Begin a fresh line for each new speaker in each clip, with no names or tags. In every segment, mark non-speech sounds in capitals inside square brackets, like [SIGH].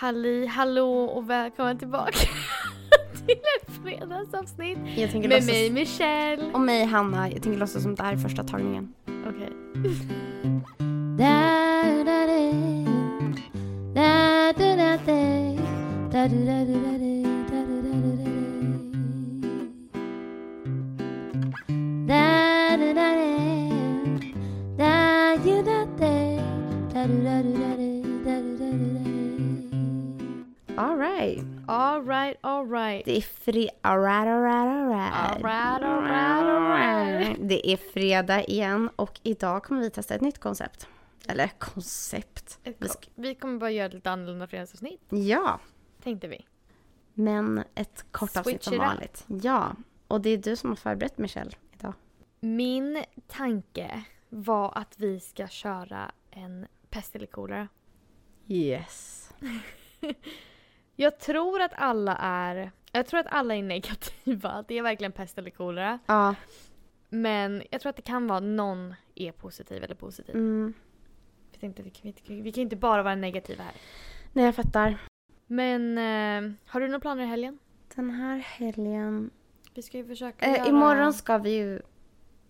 Halli hallå och välkommen tillbaka [LAUGHS] till ett fredagsavsnitt
Jag tänker
med
låtsas...
mig Michelle.
Och mig Hanna. Jag tänker låtsas som det här är första tagningen.
Okej.
Alright.
Alright, alright.
Det är fri... Alright, alright, alright.
Alright, alright, alright.
Det är fredag igen och idag kommer vi testa ett nytt koncept. Eller koncept.
Ett
Vi
kort. Vi kommer bara göra lite annorlunda fredagsavsnitt,
Ja,
tänkte vi.
men ett kort avsnitt
Switch
som
it up.
vanligt. Ja, och det är du som har förberett Michelle idag.
Min tanke var att vi ska köra en pest eller kolera.
Yes.
Jag tror att alla är jag tror att alla är negativa. Det är verkligen pest eller kolera.
Ja,
Men jag tror att det kan vara någon är positiv eller positiv.
mm.
Jag tänkte, vi, kan, vi, kan, vi kan inte bara vara negativa här.
nej jag fattar.
Men eh, har du några planer i helgen?
Den här helgen...
Vi ska ju försöka
Eh,
göra...
Imorgon ska vi ju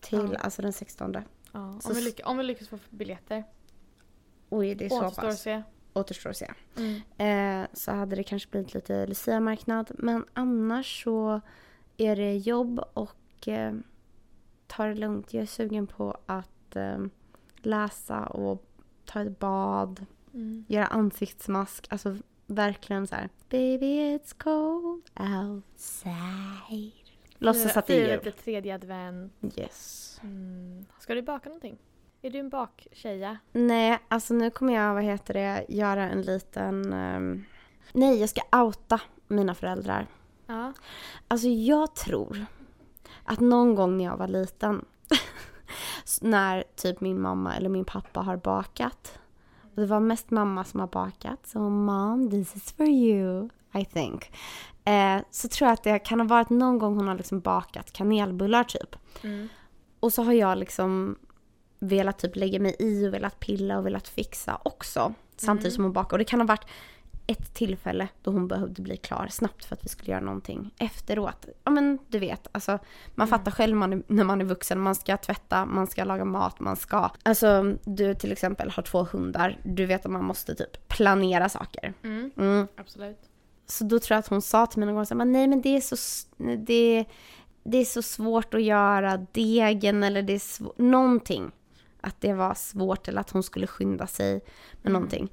till,
Ja.
alltså den 16.
Ja, om,
så-
vi lyckas, om vi lyckas få biljetter.
Oj, det är så
Återstår att
pass.
se. Mm.
Återstår att se. Eh, så hade det kanske blivit lite Lucia-marknad. Men annars så är det jobb och eh, ta det lugnt. Jag är sugen på att eh, läsa och ta ett bad,
Mm.
göra ansiktsmask. Alltså verkligen så här. Baby it's cold outside. Låtsas
Fira-
att det
fira
är
lite
jul.
tredje advent.
Yes.
Mm. Ska du baka någonting? Är du en baktjeja?
Nej, alltså nu kommer jag, vad heter det, göra en liten... ehm, nej, jag ska outa mina föräldrar.
Ja.
Alltså jag tror att någon gång när jag var liten [LAUGHS] s- när typ min mamma eller min pappa har bakat och det var mest mamma som har bakat så mom this is for you I think eh, så tror jag att det kan ha varit någon gång hon har liksom bakat kanelbullar typ
Mm.
och så har jag liksom velat typ lägga mig i och velat pilla och velat fixa också. Samtidigt som hon bakar. Och det kan ha varit ett tillfälle då hon behövde bli klar snabbt för att vi skulle göra någonting efteråt. Ja men du vet, alltså man fattar själv man är, när man är vuxen. Man ska tvätta, man ska laga mat, man ska... Alltså du till exempel har två hundar. Du vet att man måste typ planera saker.
Mm.
Mm.
Absolut.
Så då tror jag att hon sa till mig någon gång så här, nej men det är så, s- det, det är så svårt att göra degen eller det är svårt, någonting. Att det var svårt eller att hon skulle skynda sig med någonting.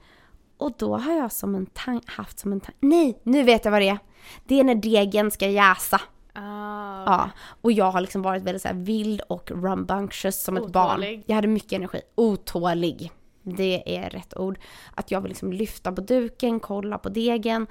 Och då har jag som en tan- haft som en tanke, nej nu vet jag vad det är. Det är när degen ska jäsa.
Ah,
Ja, och jag har liksom varit väldigt så här vild och rambunctious som ett barn.
Otålig.
Jag hade mycket energi. Otålig. Det är rätt ord. Att jag vill liksom lyfta på duken, kolla på degen,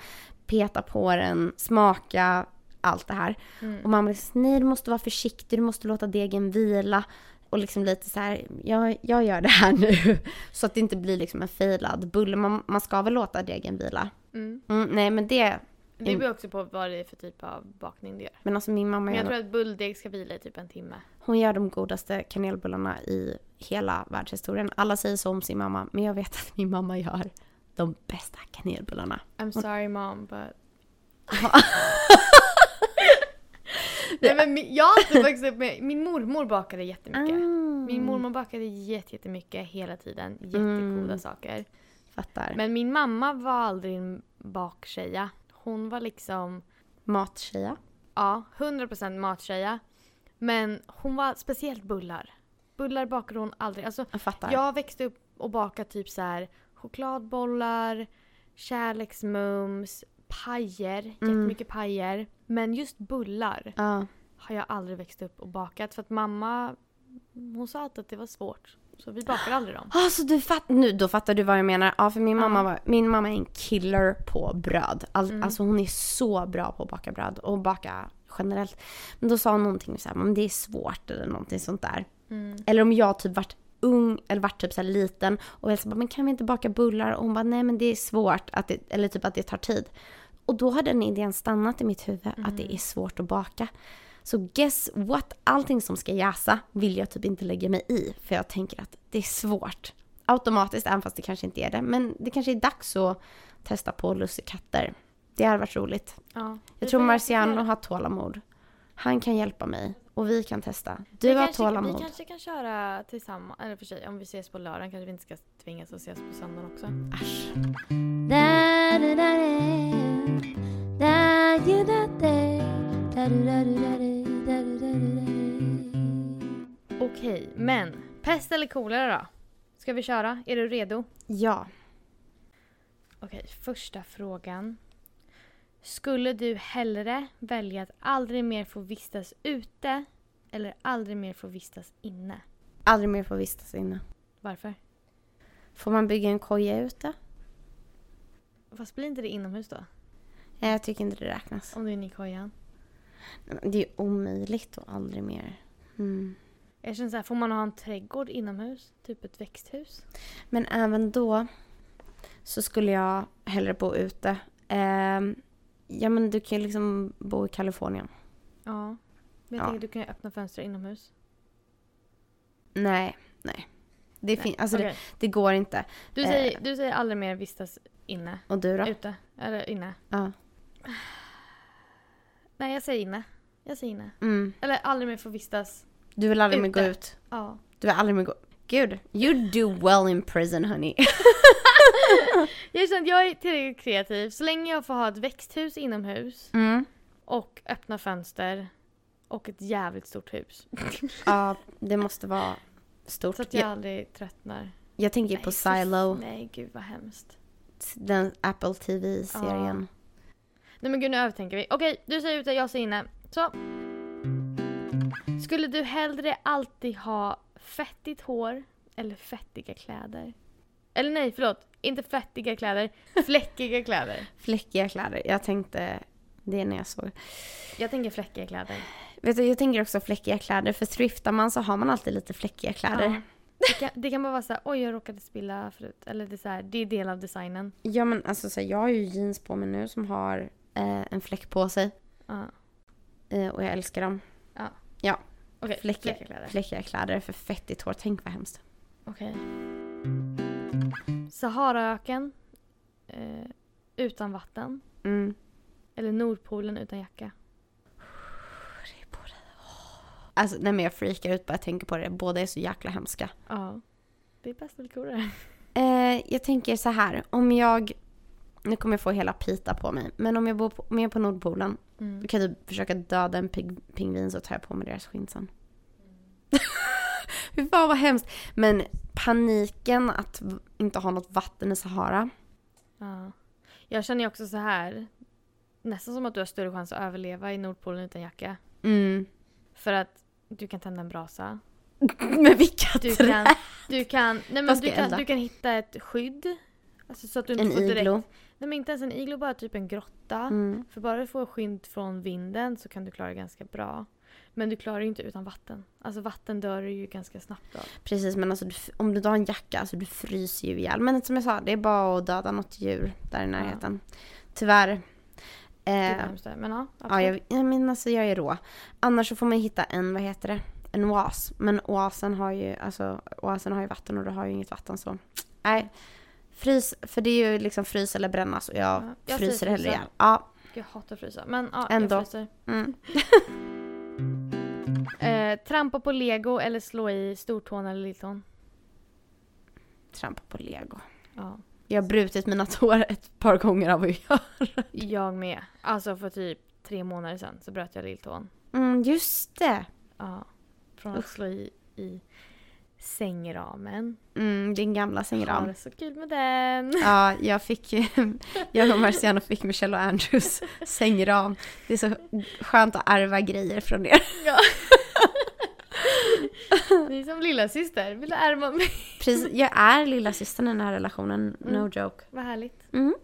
peta på den, smaka, allt det här.
Mm.
Och mamma liksom, nej du måste vara försiktig, du måste låta degen vila. Och liksom lite så här, jag, jag gör det här [LAUGHS] nu. Så att det inte blir liksom en failad bulle. Man, man ska väl låta degen vila.
Mm.
Mm, nej men det,
Det beror också på vad det är för typ av bakning du gör.
men alltså min mamma
Men
gör
jag
nog-
tror att bulldeg ska vila i typ en timme.
Hon gör de godaste kanelbullarna i hela världshistorien. Alla säger så om sin mamma, men jag vet att min mamma gör de bästa kanelbullarna.
I'm sorry mom but... Nej men min, jag har alltid vuxit upp med, min mormor bakade jättemycket. Ah. Min mormor bakade jätte- jättemycket hela tiden, jättegoda
Mm.
saker.
Fattar.
Men min mamma var aldrig en baktjeja. Hon var liksom,
Mattjeja.
ja, 100% mattjeja. Men hon var speciellt bullar. Bullar bakade hon aldrig. Alltså,
Jag fattar.
jag växte upp och bakade typ så här chokladbollar, kärleksmums, pajer,
Mm.
jättemycket pajer. Men just bullar
Ja.
har jag aldrig växt upp och bakat för att mamma hon sa alltid att det var svårt. Så vi bakade aldrig dem.
Ah, så du fatt, nu, då fattar du vad jag menar. Ja, för min,
Ja.
mamma var, min mamma är en killer på bröd. All, Alltså hon är så bra på att baka bröd och baka generellt. Men då sa hon någonting så här, men det är svårt eller någonting sånt där. Eller om jag typ varit ung eller varit typ så här liten och jag sa bara, men kan vi inte baka bullar? Och hon bara, nej men det är svårt, att det, eller typ att det tar tid. Och då har den idén stannat i mitt huvud att det är svårt att baka. Så guess what? Allting som ska jäsa vill jag typ inte lägga mig i för jag tänker att det är svårt. Automatiskt, även fast det kanske inte är det. Men det kanske är dags att testa på lussekatter. Det hade varit roligt.
Ja.
Jag tror Marciano har tålamod. Han kan hjälpa mig och vi kan testa. Du
vi
har
kanske,
tålamod.
Vi kanske kan köra tillsammans. Eller för sig, om vi ses på lördagen kanske vi inte ska tvingas att ses på söndagen också.
Äsch.
Okej, men pest eller kolera då? Ska vi köra? Är du redo?
Ja.
Okej, första frågan. Skulle du hellre välja att aldrig mer få vistas ute eller aldrig mer få vistas inne?
Aldrig mer få vistas inne.
Varför?
Får man bygga en koja ute?
Fast blir inte det inomhus då?
Nej, jag tycker inte det räknas.
Om du är inne i kojan?
Det är ju omöjligt och aldrig mer. Mm.
Jag känner så här, får man ha en trädgård inomhus? Typ ett växthus?
Men även då så skulle jag hellre bo ute. Ehm, ja, men du kan ju liksom bo i Kalifornien.
Ja. Men jag
Ja.
tänker att du kan ju öppna fönster inomhus.
Nej, nej. Det, fin- alltså det,
Okej.
det går inte.
du,
eh.
säger, du säger aldrig mer vistas inne?
Och du då?
Ute? Eller inne?
Ja.
Nej, jag säger inne. Jag säger inne.
Mm.
Eller aldrig mer få vistas.
Du vill aldrig mer gå
Ute.
ut?
Ja.
Du vill aldrig mer gå... Gud, you do well in
[LAUGHS]
prison honey.
Jag känner att jag är tillräckligt kreativ. Så länge jag får ha ett växthus inomhus
Mm.
och öppna fönster och ett jävligt stort hus.
Ja, det måste vara
[LAUGHS]
stort.
Så att jag
jag...
aldrig tröttnar.
jag tänker
Nej,
på
fy-
Silo,
Nej, gud vad hemskt.
den Apple TV-serien.
Nej men gud, nu övertänker vi. Okej, du säger ute, jag säger inne. Så. Skulle du hellre alltid ha fettigt hår eller fettiga kläder? Eller nej, förlåt. Inte fettiga kläder, [LAUGHS] fläckiga kläder.
Fläckiga kläder. Jag tänkte det när jag såg.
Jag tänker fläckiga kläder.
Vet du, jag tänker också fläckiga kläder. För thriftar man så har man alltid lite fläckiga kläder.
Ja. Det, kan, det kan bara vara så här, oj jag råkade spilla förut. Eller det är, så här, det är del av designen.
Ja men alltså så här, jag har ju jeans på mig nu som har eh, en fläck på sig.
Ja.
Eh, och jag älskar dem.
Okej,
Fläckiga,
fläckiga kläder.
fläckiga kläder för fettigt hår. Tänk vad hemskt.
Okej. Saharaöken eh, utan vatten.
Mm.
Eller Nordpolen utan jacka.
Det är på dig. Åh. Alltså nej men jag freakar ut bara jag tänker på det. Båda är så jäkla hemska.
Ja. Det är bäst eller coolare.
Eh, jag tänker så här. Om jag... Nu kommer jag få hela pita på mig. Men om jag bor på, om jag är på Nordpolen.
Mm.
Då kan jag typ försöka döda en pig, pingvin så tar jag på mig deras skinn sen. [LAUGHS] Fy fan vad hemskt. Men paniken att v- inte ha något vatten i Sahara.
Ja. Jag känner ju också så här. Nästan som att du har större chans att överleva i Nordpolen utan jacka.
Mm. [LAUGHS]
För att du kan tända en brasa.
Men vilka
Du
trä-
kan, du kan, nej men
Vad ska
du
jag
kan,
elda?
du kan hitta ett skydd. Alltså så att du inte
En
får direkt
iglo.
Nej men inte ens en iglo, bara typ en grotta.
Mm.
För bara du får skydd från vinden så kan du klara det ganska bra. Men du klarar ju inte utan vatten. Alltså vatten dör du ju ganska snabbt av.
Precis men alltså, du, f- om du inte har en jacka, alltså, du fryser ju ihjäl. Men som jag sa, det är bara att döda något djur där i närheten. Tyvärr.
Det är
Eh,
hemskt. Men ja,
ja,
absolut.
jag, jag menar alltså jag är rå. Annars så får man hitta en, vad heter det, en oas. Men oasen har ju, alltså, oasen har ju vatten och du har ju inget vatten så. Nej. Frys, för det är ju liksom frys eller brännas och jag,
Ja, jag
fryser
säger
hellre
frysa.
ihjäl. Ja.
Gud, jag hatar att frysa. Men ja,
Ändå.
jag fryser.
Mm.
Eh, trampa på lego eller slå i stortån eller lilltån?
Trampa på lego.
Ja.
Jag har brutit mina [LAUGHS] tår ett par gånger av att göra.
Jag med. Alltså för typ tre månader sedan så bröt jag lilltån.
Mm, just det.
Ja. Från att slå i, i sängramen.
Mm, din gamla
Har
sängram.
det så kul med den. [LAUGHS]
Ja, jag fick [LAUGHS] jag och Marciano fick Michelle och Andrews [LAUGHS] sängram. Det är så skönt att ärva grejer från er.
Ja. Ni är som lilla syster. vill du ärma mig?
Precis, jag är lilla systern i den här relationen, no
Mm.
joke.
Vad härligt.
Mm.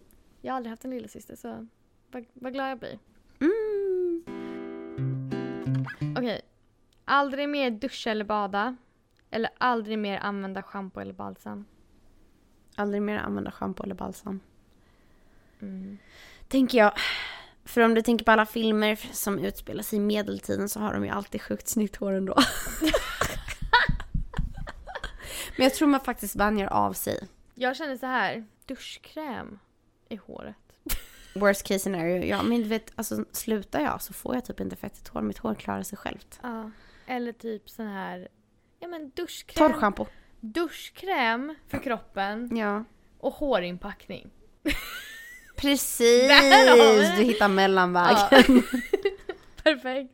Jag har aldrig haft en lilla syster så vad, vad glad jag blir.
Mm.
Okej. Aldrig mer duscha eller bada. Eller aldrig mer använda schampo eller balsam.
Aldrig mer använda schampo eller balsam.
Mm.
Tänker jag. För om du tänker på alla filmer som utspelar sig i medeltiden så har de ju alltid sjukt snyggt hår [LAUGHS] ändå. Men jag tror man faktiskt vänjer av sig.
Jag känner så här. Duschkräm. i håret.
Worst case scenario, ja men du vet, alltså slutar jag så får jag typ inte fettigt hår. Mitt hår klarar sig självt.
Ja. Eller typ sån här ja, men duschkräm.
Torrschampo.
Duschkräm för kroppen
Ja.
och hårinpackning.
Precis!
Där har vi det.
Du hittar mellanvägen.
Ja. [LAUGHS] Perfekt.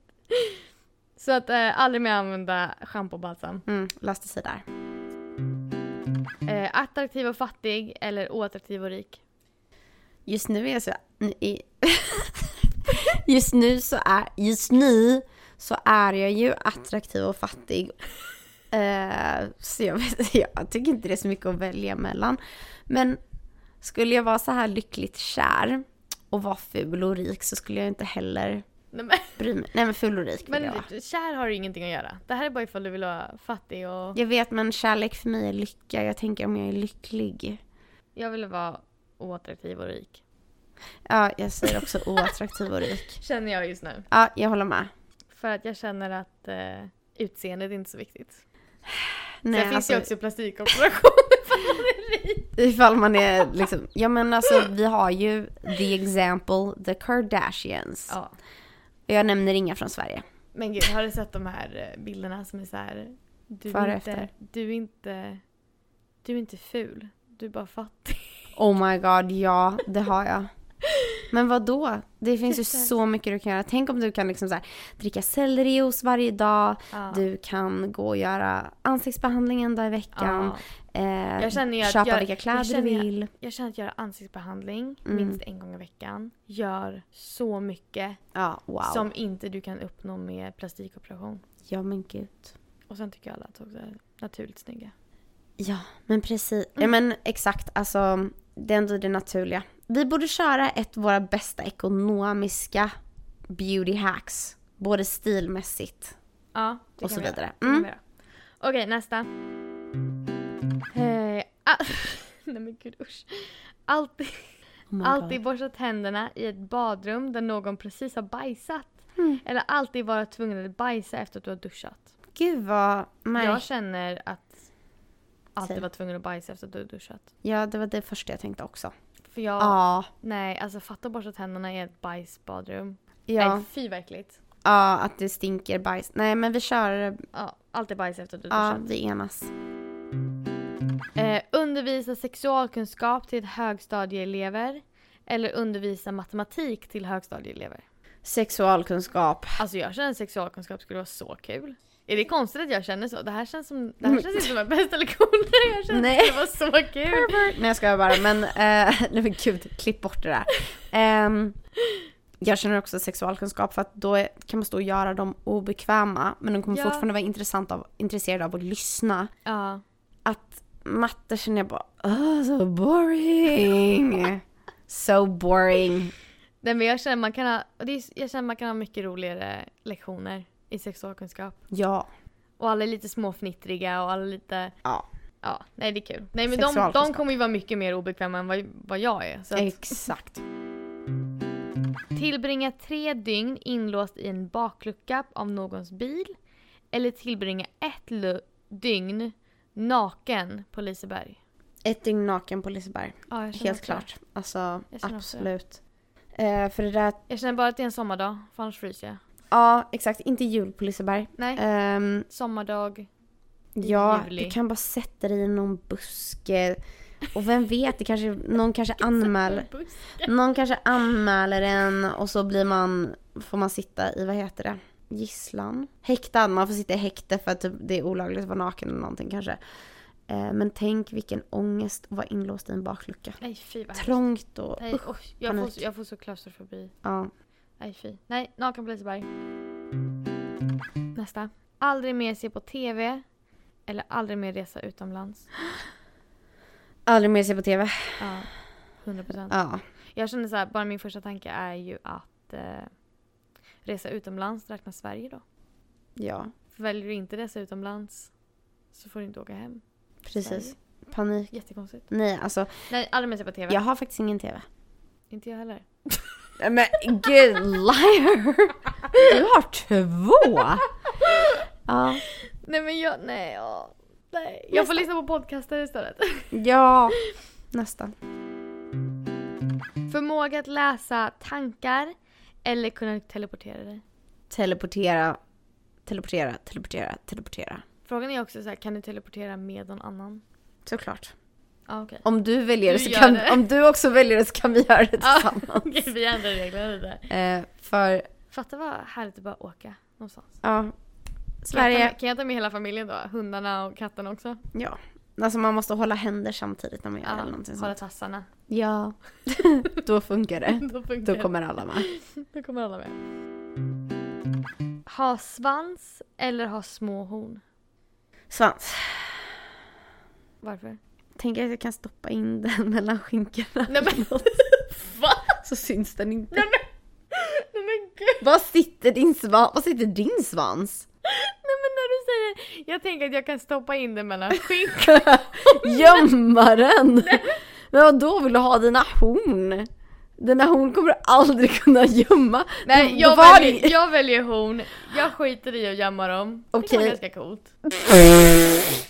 Så att eh, aldrig mer använda schampo och balsam.
Mm, löste sig där. Mm.
Eh, attraktiv och fattig eller oattraktiv och rik.
Just nu är jag så... nu är- [LAUGHS] Just nu så är... Just nu så är jag ju attraktiv och fattig. Eh, så jag, vet, [LAUGHS] jag tycker inte det är så mycket att välja mellan. Men skulle jag vara så här lyckligt kär och vara ful och rik så skulle jag inte heller
Nej, men [LAUGHS]
bry mig. Nej men ful och rik vill jag
men
vara.
du- kär har ju ingenting att göra. Det här är bara ifall du vill vara fattig och
Jag vet men kärlek för mig är lycka. Jag tänker om jag är lycklig.
jag vill vara oattraktiv och rik.
Ja, jag säger också
[LAUGHS]
oattraktiv och rik.
Känner jag just nu.
Ja, jag håller med.
För att jag känner att eh, utseendet är inte så viktigt.
Nej,
Sen finns
alltså-
ju också
[LAUGHS]
plastikoperationer för att man är rik.
Ifall man är liksom, ja men alltså vi har ju the example, the Kardashians.
Ja.
Jag nämner inga från Sverige.
Men gud, har du sett de här eh, bilderna som är så här... Du
Före
är
och
inte,
efter.
du är inte... Du är inte ful. Du är bara fattig.
Oh my god, ja det har jag. Men vad då? Det finns ju
Precis.
så mycket du kan göra. Tänk om du kan liksom så här, dricka sellerijuice varje dag,
Ja.
du kan gå och göra ansiktsbehandling en dag i veckan,
Ja.
eh,
Jag känner ju att
köpa
jag-
vilka
jag
kläder du
känner jag-
vill.
Jag känner att göra ansiktsbehandling
Mm.
minst en gång i veckan gör så mycket
Ja, wow.
som inte du kan uppnå med plastikoperation.
Ja men gud.
Och sen tycker jag alla att också är naturligt snygga.
Ja, men precis. Ja,
Mm.
men exakt, alltså det är ändå det naturliga. Vi borde köra ett av våra bästa ekonomiska beauty hacks. Både stilmässigt
Ja, det
och
kan
så
vi göra.
vidare.
Det kan vi
Mm.
göra. Okej, nästa. Eh, [LAUGHS] ah, nej men gud usch. Alltid,
Oh my
alltid
God.
borsta tänderna i ett badrum där någon precis har bajsat.
Mm.
Eller alltid vara tvungen att bajsa efter att du har duschat.
Gud vad... Nej. Typ.
Jag känner att alltid
Säg.
vara tvungen att bajsa efter att du har duschat.
Ja, det var det första jag tänkte också.
För jag,
Ja.
nej alltså fatta att borsta tänderna i ett bajsbadrum.
Ja,
Nej fy vad äckligt.
ja, att det stinker bajs. Nej, men vi kör...
Ja, alltid bajs efter att du har
Ja,
duschat.
vi enas.
Eh, undervisa sexualkunskap till högstadieelever eller undervisa matematik till högstadieelever.
Sexualkunskap.
Alltså jag känner att sexualkunskap skulle vara så kul. Är det konstigt att jag känner så? Det här känns, som, det här känns inte som en bästa lektioner. [LAUGHS] Jag känner
Nej.
att det var så kul.
Nej jag skojar bara, men, eh, [LAUGHS] nej men gud, klipp bort det där. Ehm, jag känner också sexualkunskap för att då är, kan man stå och göra dem obekväma men de kommer
Ja.
fortfarande vara intressant av, intresserade av att lyssna.
Ja.
Att matte känner jag bara, oh, so boring. so boring.
Nej, men jag känner man kan ha, och det är, jag känner man kan ha mycket roligare lektioner i sexualkunskap.
Ja,
Och alla är lite småfnittriga och alla är lite...
ja.
Ja, nej det är kul. Nej men de, de
Sexualkunskap.
kommer ju vara mycket mer obekväma än vad, vad jag är. Så att,
Exakt.
Tillbringa tre dygn inlåst i en baklucka av någons bil. Eller tillbringa ett lu- dygn naken på Liseberg.
Ett dygn naken på Liseberg.
Ja, jag känner
Helt
också
klart. Alltså,
Jag känner också det.
absolut. Eh, för det där,
det. Jag känner bara att det är en sommardag, för annars fryser jag.
ja exakt, inte jul på Liseberg.
Nej,
Ehm,
sommardag.
Ja,
juli.
du kan bara sätta dig i någon buske. Och vem vet, det kanske, någon, kanske anmäler,
Buss.
någon kanske anmäler en och så blir man, får man sitta i, vad heter det, gisslan? Häktad, man får sitta i häkte för att typ, det är olagligt att vara naken eller någonting kanske. Eh, men tänk vilken ångest att vara inlåst i en baklucka.
Nej fy vad hemskt.
Trångt och
Nej,
usch,
oj, jag, får,
panik.
så- jag får så klaustrofobi.
ja.
Nej fy. Nej, naken på Liseberg. Nästa. Aldrig mer se på TV. Eller aldrig mer resa utomlands.
Aldrig mer se på TV.
Ja, 100 procent.
Ja.
Jag känner så här, bara min första tanke är ju att eh, resa utomlands räknas Sverige då.
Ja,
För väljer du inte resa utomlands så får du inte åka hem.
precis.
Sverige.
Panik.
Jättekonstigt.
Nej, alltså
Nej, aldrig mer se på TV.
jag har faktiskt ingen TV.
Inte jag heller.
Nej, Men gud, liar! Du har två! Ja,
[LAUGHS] Nej men jag, nej, ja, nej. Jag
Nästa.
får lyssna på podcaster istället.
ja nästan.
Förmåga att läsa tankar eller kunna teleportera dig.
Teleportera, teleportera, teleportera, teleportera.
Frågan är också så här, kan du teleportera med någon annan?
Såklart.
Ja, okej.
Om du väljer
Du
det så
gör
kan,
det.
om du också väljer det så kan vi göra det
Ja.
tillsammans.
[LAUGHS] Okej, vi ändrar reglerna lite.
Eh, för,
Fatta vad härligt att bara åka någonstans.
ja.
Kan jag,
Sverige,
ta med, kan jag ta med hela familjen då? Hundarna och katten också?
ja. Alltså man måste hålla händer samtidigt när man gör det
Ja,
eller någonting
hålla
sånt.
tassarna.
[LAUGHS] Ja. Då funkar det.
[LAUGHS] Då funkar
Då
det.
kommer alla med.
Då kommer alla med. Ha svans eller ha små horn?
Svans.
[LAUGHS] Varför?
Tänk att jag kan stoppa in [LAUGHS] den mellan skinkorna.
Nej men [LAUGHS] va?
Så syns den inte.
Nej men, nej men gud.
Var sitter din svans? Var sitter
[LAUGHS]
din svans?
Nej men när du säger, jag tänker att jag kan stoppa in det [LAUGHS] mellan skink. [LAUGHS]
Gömma den! Men då vill du ha dina horn? Dina horn kommer du aldrig kunna gömma.
Nej
Då- då
jag
var
väljer,
det-
jag väljer horn, jag skiter i att gömma dem. Det kan vara
Okej.
ganska coolt.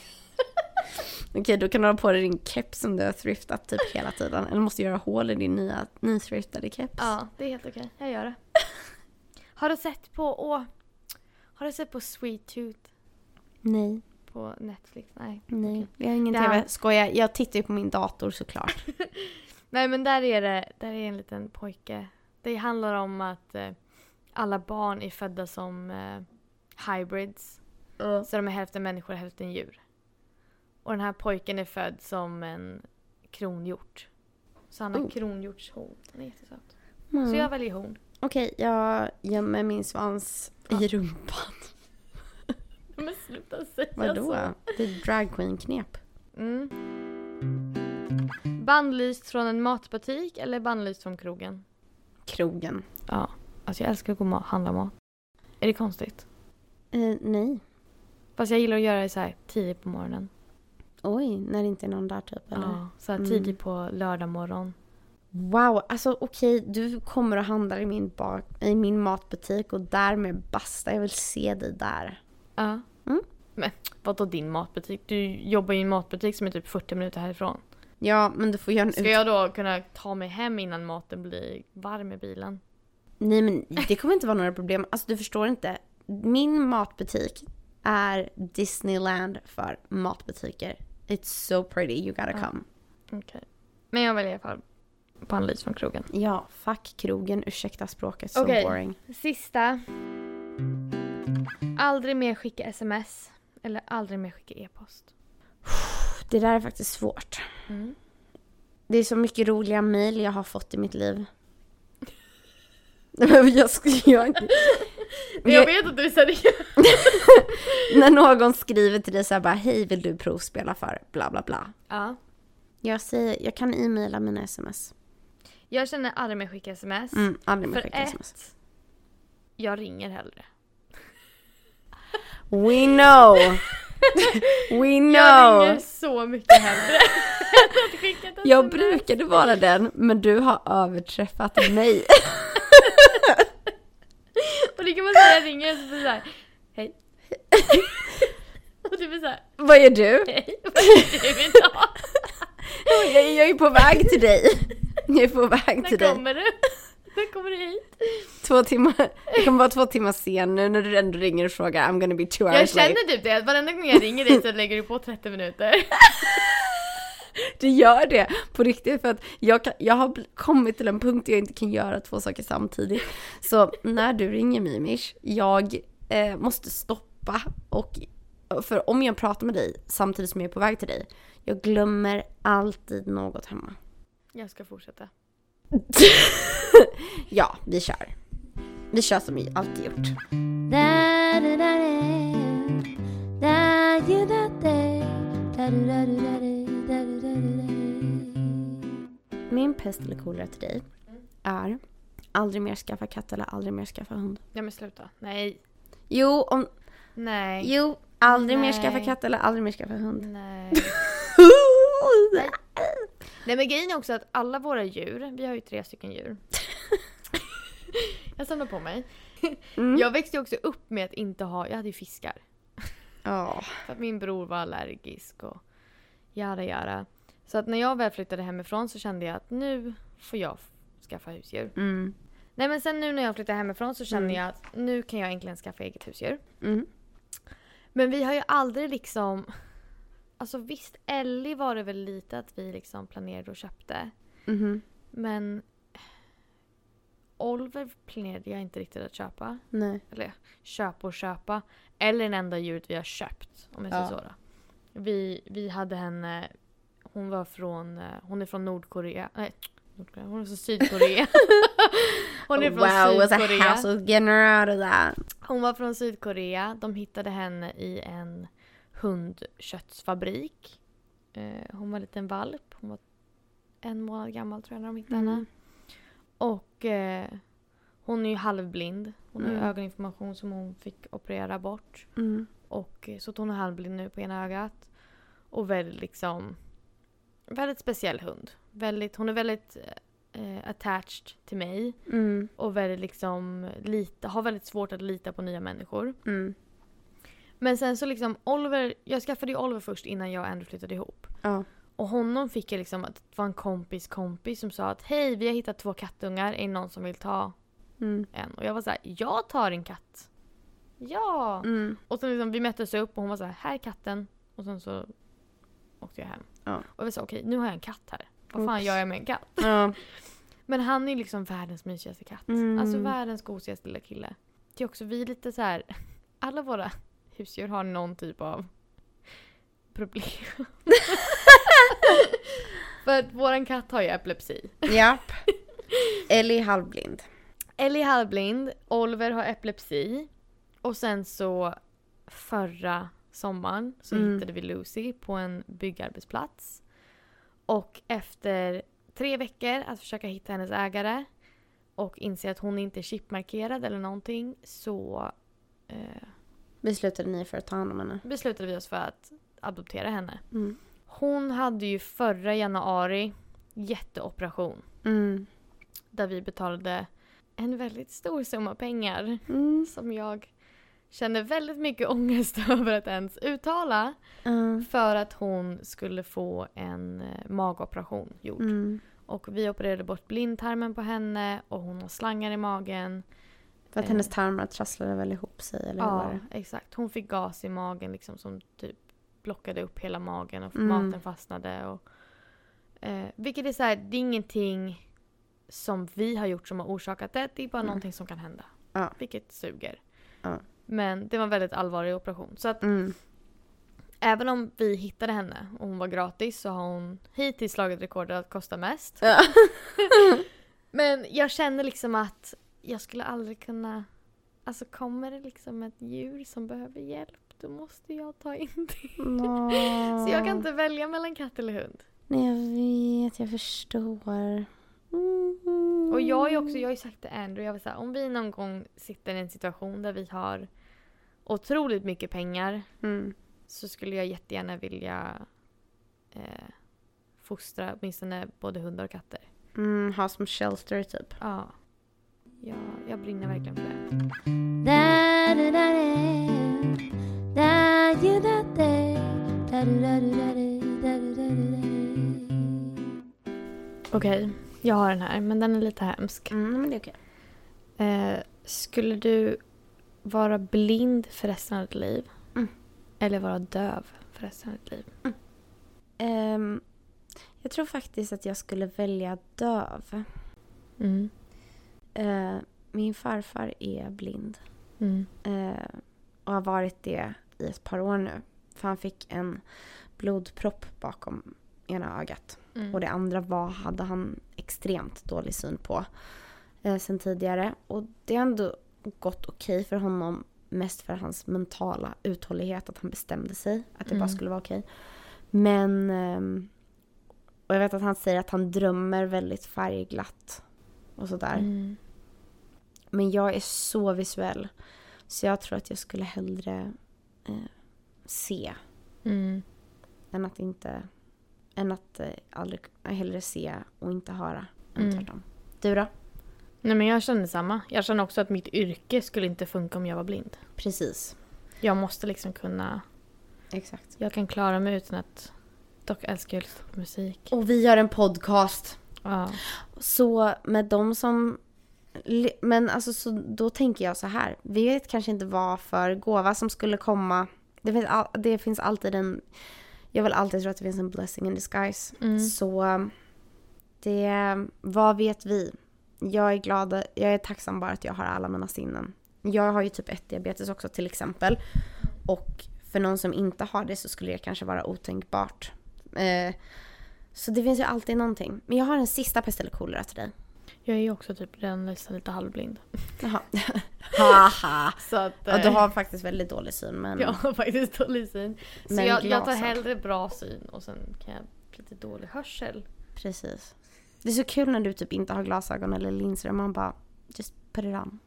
[LAUGHS] Okej, då kan du ha på dig din keps som du har thriftat typ hela tiden. Eller måste göra hål i din nya nythriftade keps.
Ja, det är helt okej. Jag [LAUGHS] gör det. Har du sett på, åh, har du sett på Sweet Tooth
Nej,
på Netflix? Nej.
nej. Vi har ingen
Det här-
TV. Skoja, jag tittar ju på min dator såklart.
Nej men där är det, där är en liten pojke. Det handlar om att eh, alla barn är födda som eh, hybrids. Så de är hälften människor och hälften djur. Och den här pojken är född som en kronhjort. Så han har
Oh.
kronhjortshorn. Han är jättesöt.
Mm.
Så jag väljer horn.
Okej, jag gömmer min svans i rumpan.
Men sluta säga
Vadå?
så.
Det är dragqueen-knep.
Mm. Bannlyst från en matbutik eller bannlyst från krogen?
Krogen.
Ja, alltså jag älskar att gå och ma- handla mat. Är det konstigt?
Eh, nej.
Fast jag gillar att göra det så här tidigt på morgonen.
Oj, när det inte är någon där typ eller?
Ja, så här
Mm.
tidigt på lördag morgon.
Wow, alltså okej, du kommer och handlar i min, bak, i min matbutik och därmed basta, jag vill se dig där.
Ja.
Mm.
Men vadå din matbutik? Du jobbar ju i en matbutik som är typ 40 minuter härifrån.
Ja, men du får göra en
Ska
ut...
jag då kunna ta mig hem innan maten blir varm i bilen?
Nej men det kommer inte vara några problem, alltså du förstår inte. Min matbutik är Disneyland för matbutiker. It's so pretty, you gotta
Ja.
come.
Okej. Men jag väljer i alla fall bannlyst från krogen.
Ja, fuck krogen, ursäkta språket, so
Okej.
boring.
Sista. Aldrig mer skicka sms. Eller aldrig mer skicka e-post. Mm.
Det där är faktiskt svårt. Det är så mycket roliga mejl jag har fått i mitt liv. [LAUGHS] Men jag sk- jag, jag,
[LAUGHS] Jag vet att du är seriös.
när någon skriver till dig så här bara hej vill du provspela för bla bla bla.
Ja.
Jag säger, jag kan e-maila mina sms.
Jag känner aldrig mer skicka sms.
Mm, aldrig mer
För
skicka
ett,
sms.
jag ringer hellre.
We know! [LAUGHS] We
Jag ringer
know!
så mycket [LAUGHS] hellre. än att skicka ett
Jag
sms.
brukade vara den, men du har överträffat
[LAUGHS]
mig.
Och det kan man säga, jag ringer och så blir det såhär, hej. och du blir
[LAUGHS]
såhär,
Vad är du?
hej. Vad är det idag?
[LAUGHS] Jag, jag är på väg
[LAUGHS]
till dig. Jag är på väg till
När
dig.
kommer du? När kommer du hit?
två timmar, jag kommer vara två timmar sen nu när du ändå ringer och frågar I'm gonna be two
Jag
hours late.
känner typ det, att varenda gång jag ringer dig så lägger du på 30 minuter.
Du gör det på riktigt för att jag, kan, jag har bl- kommit till en punkt där jag inte kan göra två saker samtidigt. Så när du ringer Mimish, jag eh, måste stoppa och för om jag pratar med dig samtidigt som jag är på väg till dig, jag glömmer alltid
[LAUGHS]
något hemma.
Jag ska fortsätta.
Ja, vi kör. Vi kör som vi alltid gjort. Min pest eller kolera till dig är aldrig mer skaffa katt eller aldrig mer skaffa hund.
Ja men sluta. Nej.
Jo, om,
Nej.
jo aldrig mer
Nej.
skaffa katt eller aldrig mer
[LAUGHS]
skaffa hund.
Nej. Nej men grejen är också att alla våra djur, vi har ju tre stycken djur. jag samlar på mig.
Mm.
Jag växte ju också upp med att inte ha, jag hade ju fiskar.
Ja.
För att min bror var allergisk och jada jada. Så att när jag väl flyttade hemifrån så kände jag att nu får jag f- skaffa husdjur.
Mm.
Nej men sen nu när jag flyttar hemifrån så känner jag att nu kan jag äntligen skaffa eget husdjur.
Mm.
Men vi har ju aldrig liksom... Alltså visst, Ellie var det väl lite att vi liksom planerade och köpte.
Mhm.
Men Oliver planerade jag inte riktigt att köpa.
Nej.
Eller köpa och köpa. Eller den enda djuret vi har köpt. Om jag säger
Ja.
så då. Vi, vi hade henne... Hon var från... eh, Hon är från Nordkorea. Nej, Nordkorea. Hon är från
[LAUGHS]
Sydkorea. hon är från
Oh, wow, alltså, was a
Sydkorea.
hassle getting her out of that.
Hon var från Sydkorea. De hittade henne i en hundköttsfabrik. Eh, hon var en liten valp. Hon var en månad gammal tror jag när de hittade henne.
Mm.
Och eh, hon är ju halvblind. Hon har ju
Mm.
ögoninformation som hon fick operera bort.
Mm.
Och, eh, så att hon är halvblind nu på ena ögat. Och väldigt liksom... Väldigt speciell hund. Väldigt, hon är väldigt eh, attached till mig.
Mm.
Och väldigt liksom, lita, har väldigt svårt att lita på nya människor.
Mm.
Men sen så liksom Oliver, jag skaffade ju Oliver först innan jag och Andrew flyttade ihop.
Ja.
Och honom fick jag liksom att det var en kompis kompis som sa att hej vi har hittat två kattungar, är det någon som vill ta
Mm.
en? Och jag var så här, jag tar en katt. Ja!
Mm.
Och sen liksom, vi möttes upp och hon var så här, här är katten. Och sen så åkte jag hem.
Ja.
Och vi sa okej nu har jag en katt här. Vad fan
Oops.
gör jag med en katt?
Ja.
Men han är liksom världens mysigaste katt.
Mm.
Alltså världens gosigaste lilla kille. Det är också vi är lite så här. [LAUGHS] alla våra husdjur har någon typ av problem. [LAUGHS] För att våran katt har ju epilepsi. [LAUGHS]
Japp. Ellie är halvblind.
Ellie är halvblind, Oliver har epilepsi. Och sen så förra sommaren så
Mm.
hittade vi Lucy på en byggarbetsplats. Och efter tre veckor att försöka hitta hennes ägare och inse att hon inte är chipmarkerad eller någonting så eh,
Beslutade ni för att ta hand om henne?
beslutade vi oss för att adoptera henne.
Mm.
Hon hade ju förra januari jätteoperation
Mm.
där vi betalade en väldigt stor summa pengar
Mm.
som jag känner väldigt mycket ångest [LAUGHS] över att ens uttala.
Ja.
För att hon skulle få en eh, magoperation gjord.
Mm.
Och vi opererade bort blindtarmen på henne och hon har slangar i magen.
För att hennes tarmar trasslade väl ihop sig eller hur var
Ja,
det?
exakt. Hon fick gas i magen liksom som typ blockade upp hela magen och
Mm.
maten fastnade. Och, eh, vilket är så här, det är ingenting som vi har gjort som har orsakat det. Det är bara
Mm.
någonting som kan hända.
Ja.
Vilket suger.
Ja.
Men det var en väldigt allvarlig operation. Så att
Mm.
Även om vi hittade henne och hon var gratis så har hon hittills slagit rekordet att kosta mest.
Ja.
[LAUGHS] Men jag känner liksom att jag skulle aldrig kunna... Alltså kommer det liksom ett djur som behöver hjälp då måste jag ta in det.
[LAUGHS] Nå.
Så jag kan inte välja mellan katt eller hund.
Nej, jag vet. Jag förstår. Mm.
Och jag är också, jag har ju sagt till Andrew, jag vill säga om vi någon gång sitter i en situation där vi har otroligt mycket pengar
Mm.
så skulle jag jättegärna vilja eh, fostra åtminstone både hundar och katter.
Mm, ha som shelter typ.
Ja. ja jag brinner verkligen för det. Okej, jag har den här, men den är lite hemsk.
Mm, men det är okej.
Eh, skulle du vara blind för resten av ditt liv?
Mm.
Eller vara döv för resten av ditt liv?
Ehm, jag tror faktiskt att jag skulle välja döv.
Mm.
Eh, min farfar är blind.
Mm.
Eh, och har varit det i ett par år nu. För han fick en blodpropp bakom ena ögat.
Mm.
Och det andra var, hade han extremt dålig syn på eh, sen tidigare. Och det har ändå gått okej för honom. Mest för hans mentala uthållighet, att han bestämde sig att det bara
Mm.
skulle vara okej. Men... ehm, och jag vet att han säger att han drömmer väldigt färgglatt. Och sådär.
Mm.
Men jag är så visuell. Så jag tror att jag skulle hellre eh, se
Mm.
än att inte... Än att eh, aldrig, eh, hellre se och inte höra. Än
Mm.
tvärtom. Du då?
Nej men jag känner samma. Jag känner också att mitt yrke skulle inte funka om jag var blind.
Precis.
Jag måste liksom kunna...
Exakt.
Jag kan klara mig utan att... Dock älskar jag att lyssna på musik.
Och vi gör en podcast.
Ja.
Så med de som... le- Men alltså, så då tänker jag så här. Vi vet kanske inte vad för gåva som skulle komma. Det finns, all, det finns alltid en... Jag vill alltid tro att det finns en blessing in disguise.
Mm.
Så det... Vad vet vi? Jag är glad, jag är tacksam bara att jag har alla mina sinnen. Jag har ju typ 1-diabetes också till exempel. Och för någon som inte har det så skulle det kanske vara otänkbart. Eh, så det finns ju alltid någonting. Men jag har en sista pest eller kolera till dig.
Jag är ju också typ redan nästan lite halvblind.
[LAUGHS] Jaha. Haha.
Så att,
Ja,
eh,
du har faktiskt väldigt dålig syn men...
Jag har [LAUGHS] faktiskt dålig syn. Så
Mm. Men
jag, jag tar
glasen.
hellre bra syn och sen kan jag bli lite dålig hörsel.
Precis. Det är så kul när du typ inte har glasögon eller linser. Man bara, just put it on.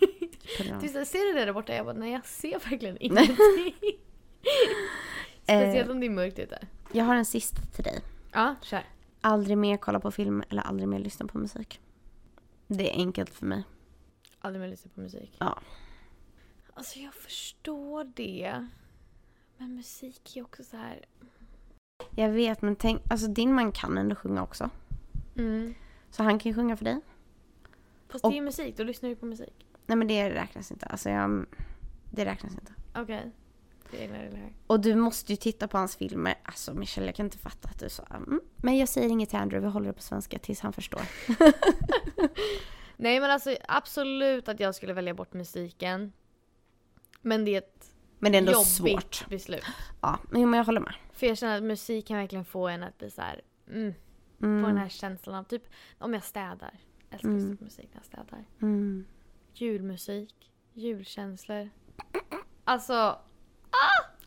Just put it
Du,
on.
så- ser du det där borta? Jag bara, nej jag ser
[LAUGHS]
verkligen ingenting. Speciellt
Eh,
om det är mörkt ute.
jag har en sista till dig.
Ja, kör.
Aldrig mer kolla på film eller aldrig mer lyssna på musik. Det är enkelt för mig.
Aldrig mer lyssna på musik.
Ja.
Alltså jag förstår det. Men musik är ju också så här...
Jag vet men tänk, alltså din man kan ändå sjunga också.
Mm.
Så han kan ju sjunga för dig.
Fast
Och-
det är ju musik, då lyssnar du ju på musik.
Nej men det räknas inte. Alltså jag, det räknas inte.
Okej. Det är egna regler här.
Och du måste ju titta på hans filmer. Alltså Michelle, jag kan inte fatta att du sa mm. Men jag säger inget till Andrew, vi håller det på svenska tills han förstår.
Nej men alltså absolut att jag skulle välja bort musiken. Men det är ett
Men det är ändå
jobbigt
svårt.
beslut.
Ja, men men jag håller med.
För jag känner att musik kan verkligen få en att bli så här, mm,
Mm.
få den här känslan av typ om jag städar. Jag älskar att lyssna på musik när jag städar.
Mm.
Julmusik, julkänslor. Alltså,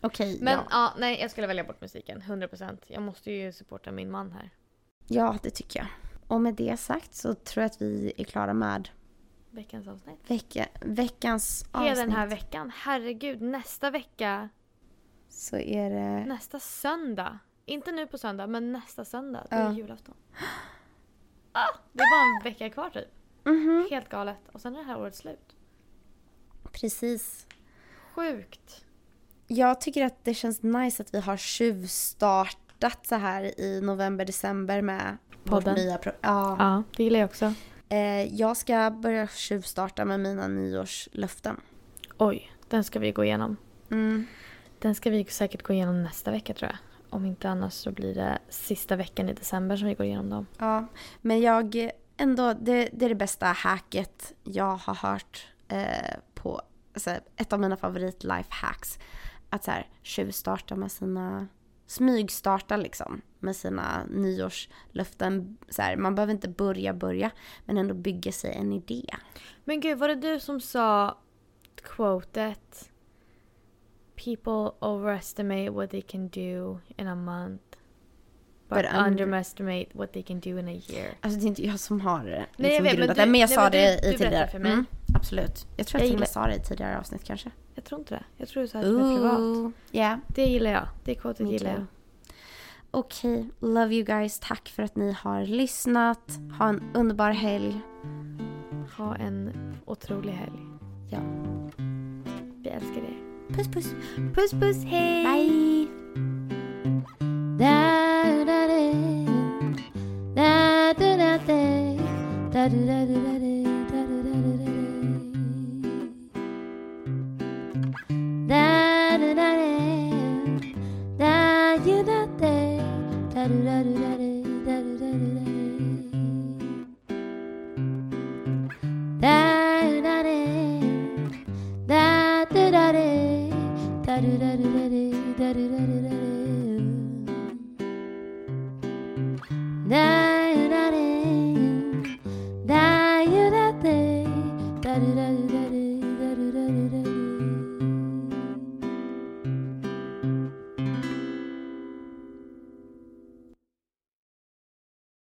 Okej,
men ja.
ja.
nej jag skulle välja bort musiken, 100%. Jag måste ju supporta min man här.
ja, det tycker jag. Och med det sagt så tror jag att vi är klara med
Veckans avsnitt.
vecka, veckans
Hela
avsnitt.
den här veckan, herregud nästa vecka,
Så är det...
nästa söndag. Inte nu på söndag, men nästa söndag. Det
Ja.
är julafton. Ah, det är bara en vecka kvar typ.
Mhm,
Helt galet. Och sen är det här året slut.
Precis.
Sjukt.
Jag tycker att det känns nice att vi har tjuvstartat så här i november, december med
Podden.
vårt nya... Pro- ja.
Ja, det gillar jag också.
Eh, jag ska börja tjuvstarta med mina nyårslöften.
Oj, den ska vi gå igenom.
Mm.
Den ska vi säkert gå igenom nästa vecka tror jag. Om inte annars så blir det sista veckan i december som vi går igenom dem.
Ja, men jag ändå, det, det är det bästa hacket jag har hört eh, på, alltså, ett av mina favorit lifehacks. Att så här, tjuvstarta med sina, smygstarta liksom med sina nyårslöften. Så här, man behöver inte börja börja, men ändå bygga sig en idé.
Men gud, var det du som sa quotet People overestimate what they can do in a month but,
But under-
underestimate what they can do in a year.
Alltså det är inte jag som har eh, liksom,
jag vet, men
grundat
du-
det, men jag
nej,
sa
men du-
det
du
i
berättade
tidigare.
för mig.
Mm, absolut. Jag tror
Jag
jag till och
gillar-
med sa det i tidigare avsnitt kanske.
Jag tror inte det. Jag tror du sa det till mig privat.
Yeah.
Det gillar jag. Det quotet
Me
gillar
too.
jag.
Okej, love you guys. Tack för att ni har lyssnat. Ha en underbar helg.
Ha en otrolig helg.
Ja.
Vi älskar er.
Puss puss.
Puss puss, hej!
Bye.
da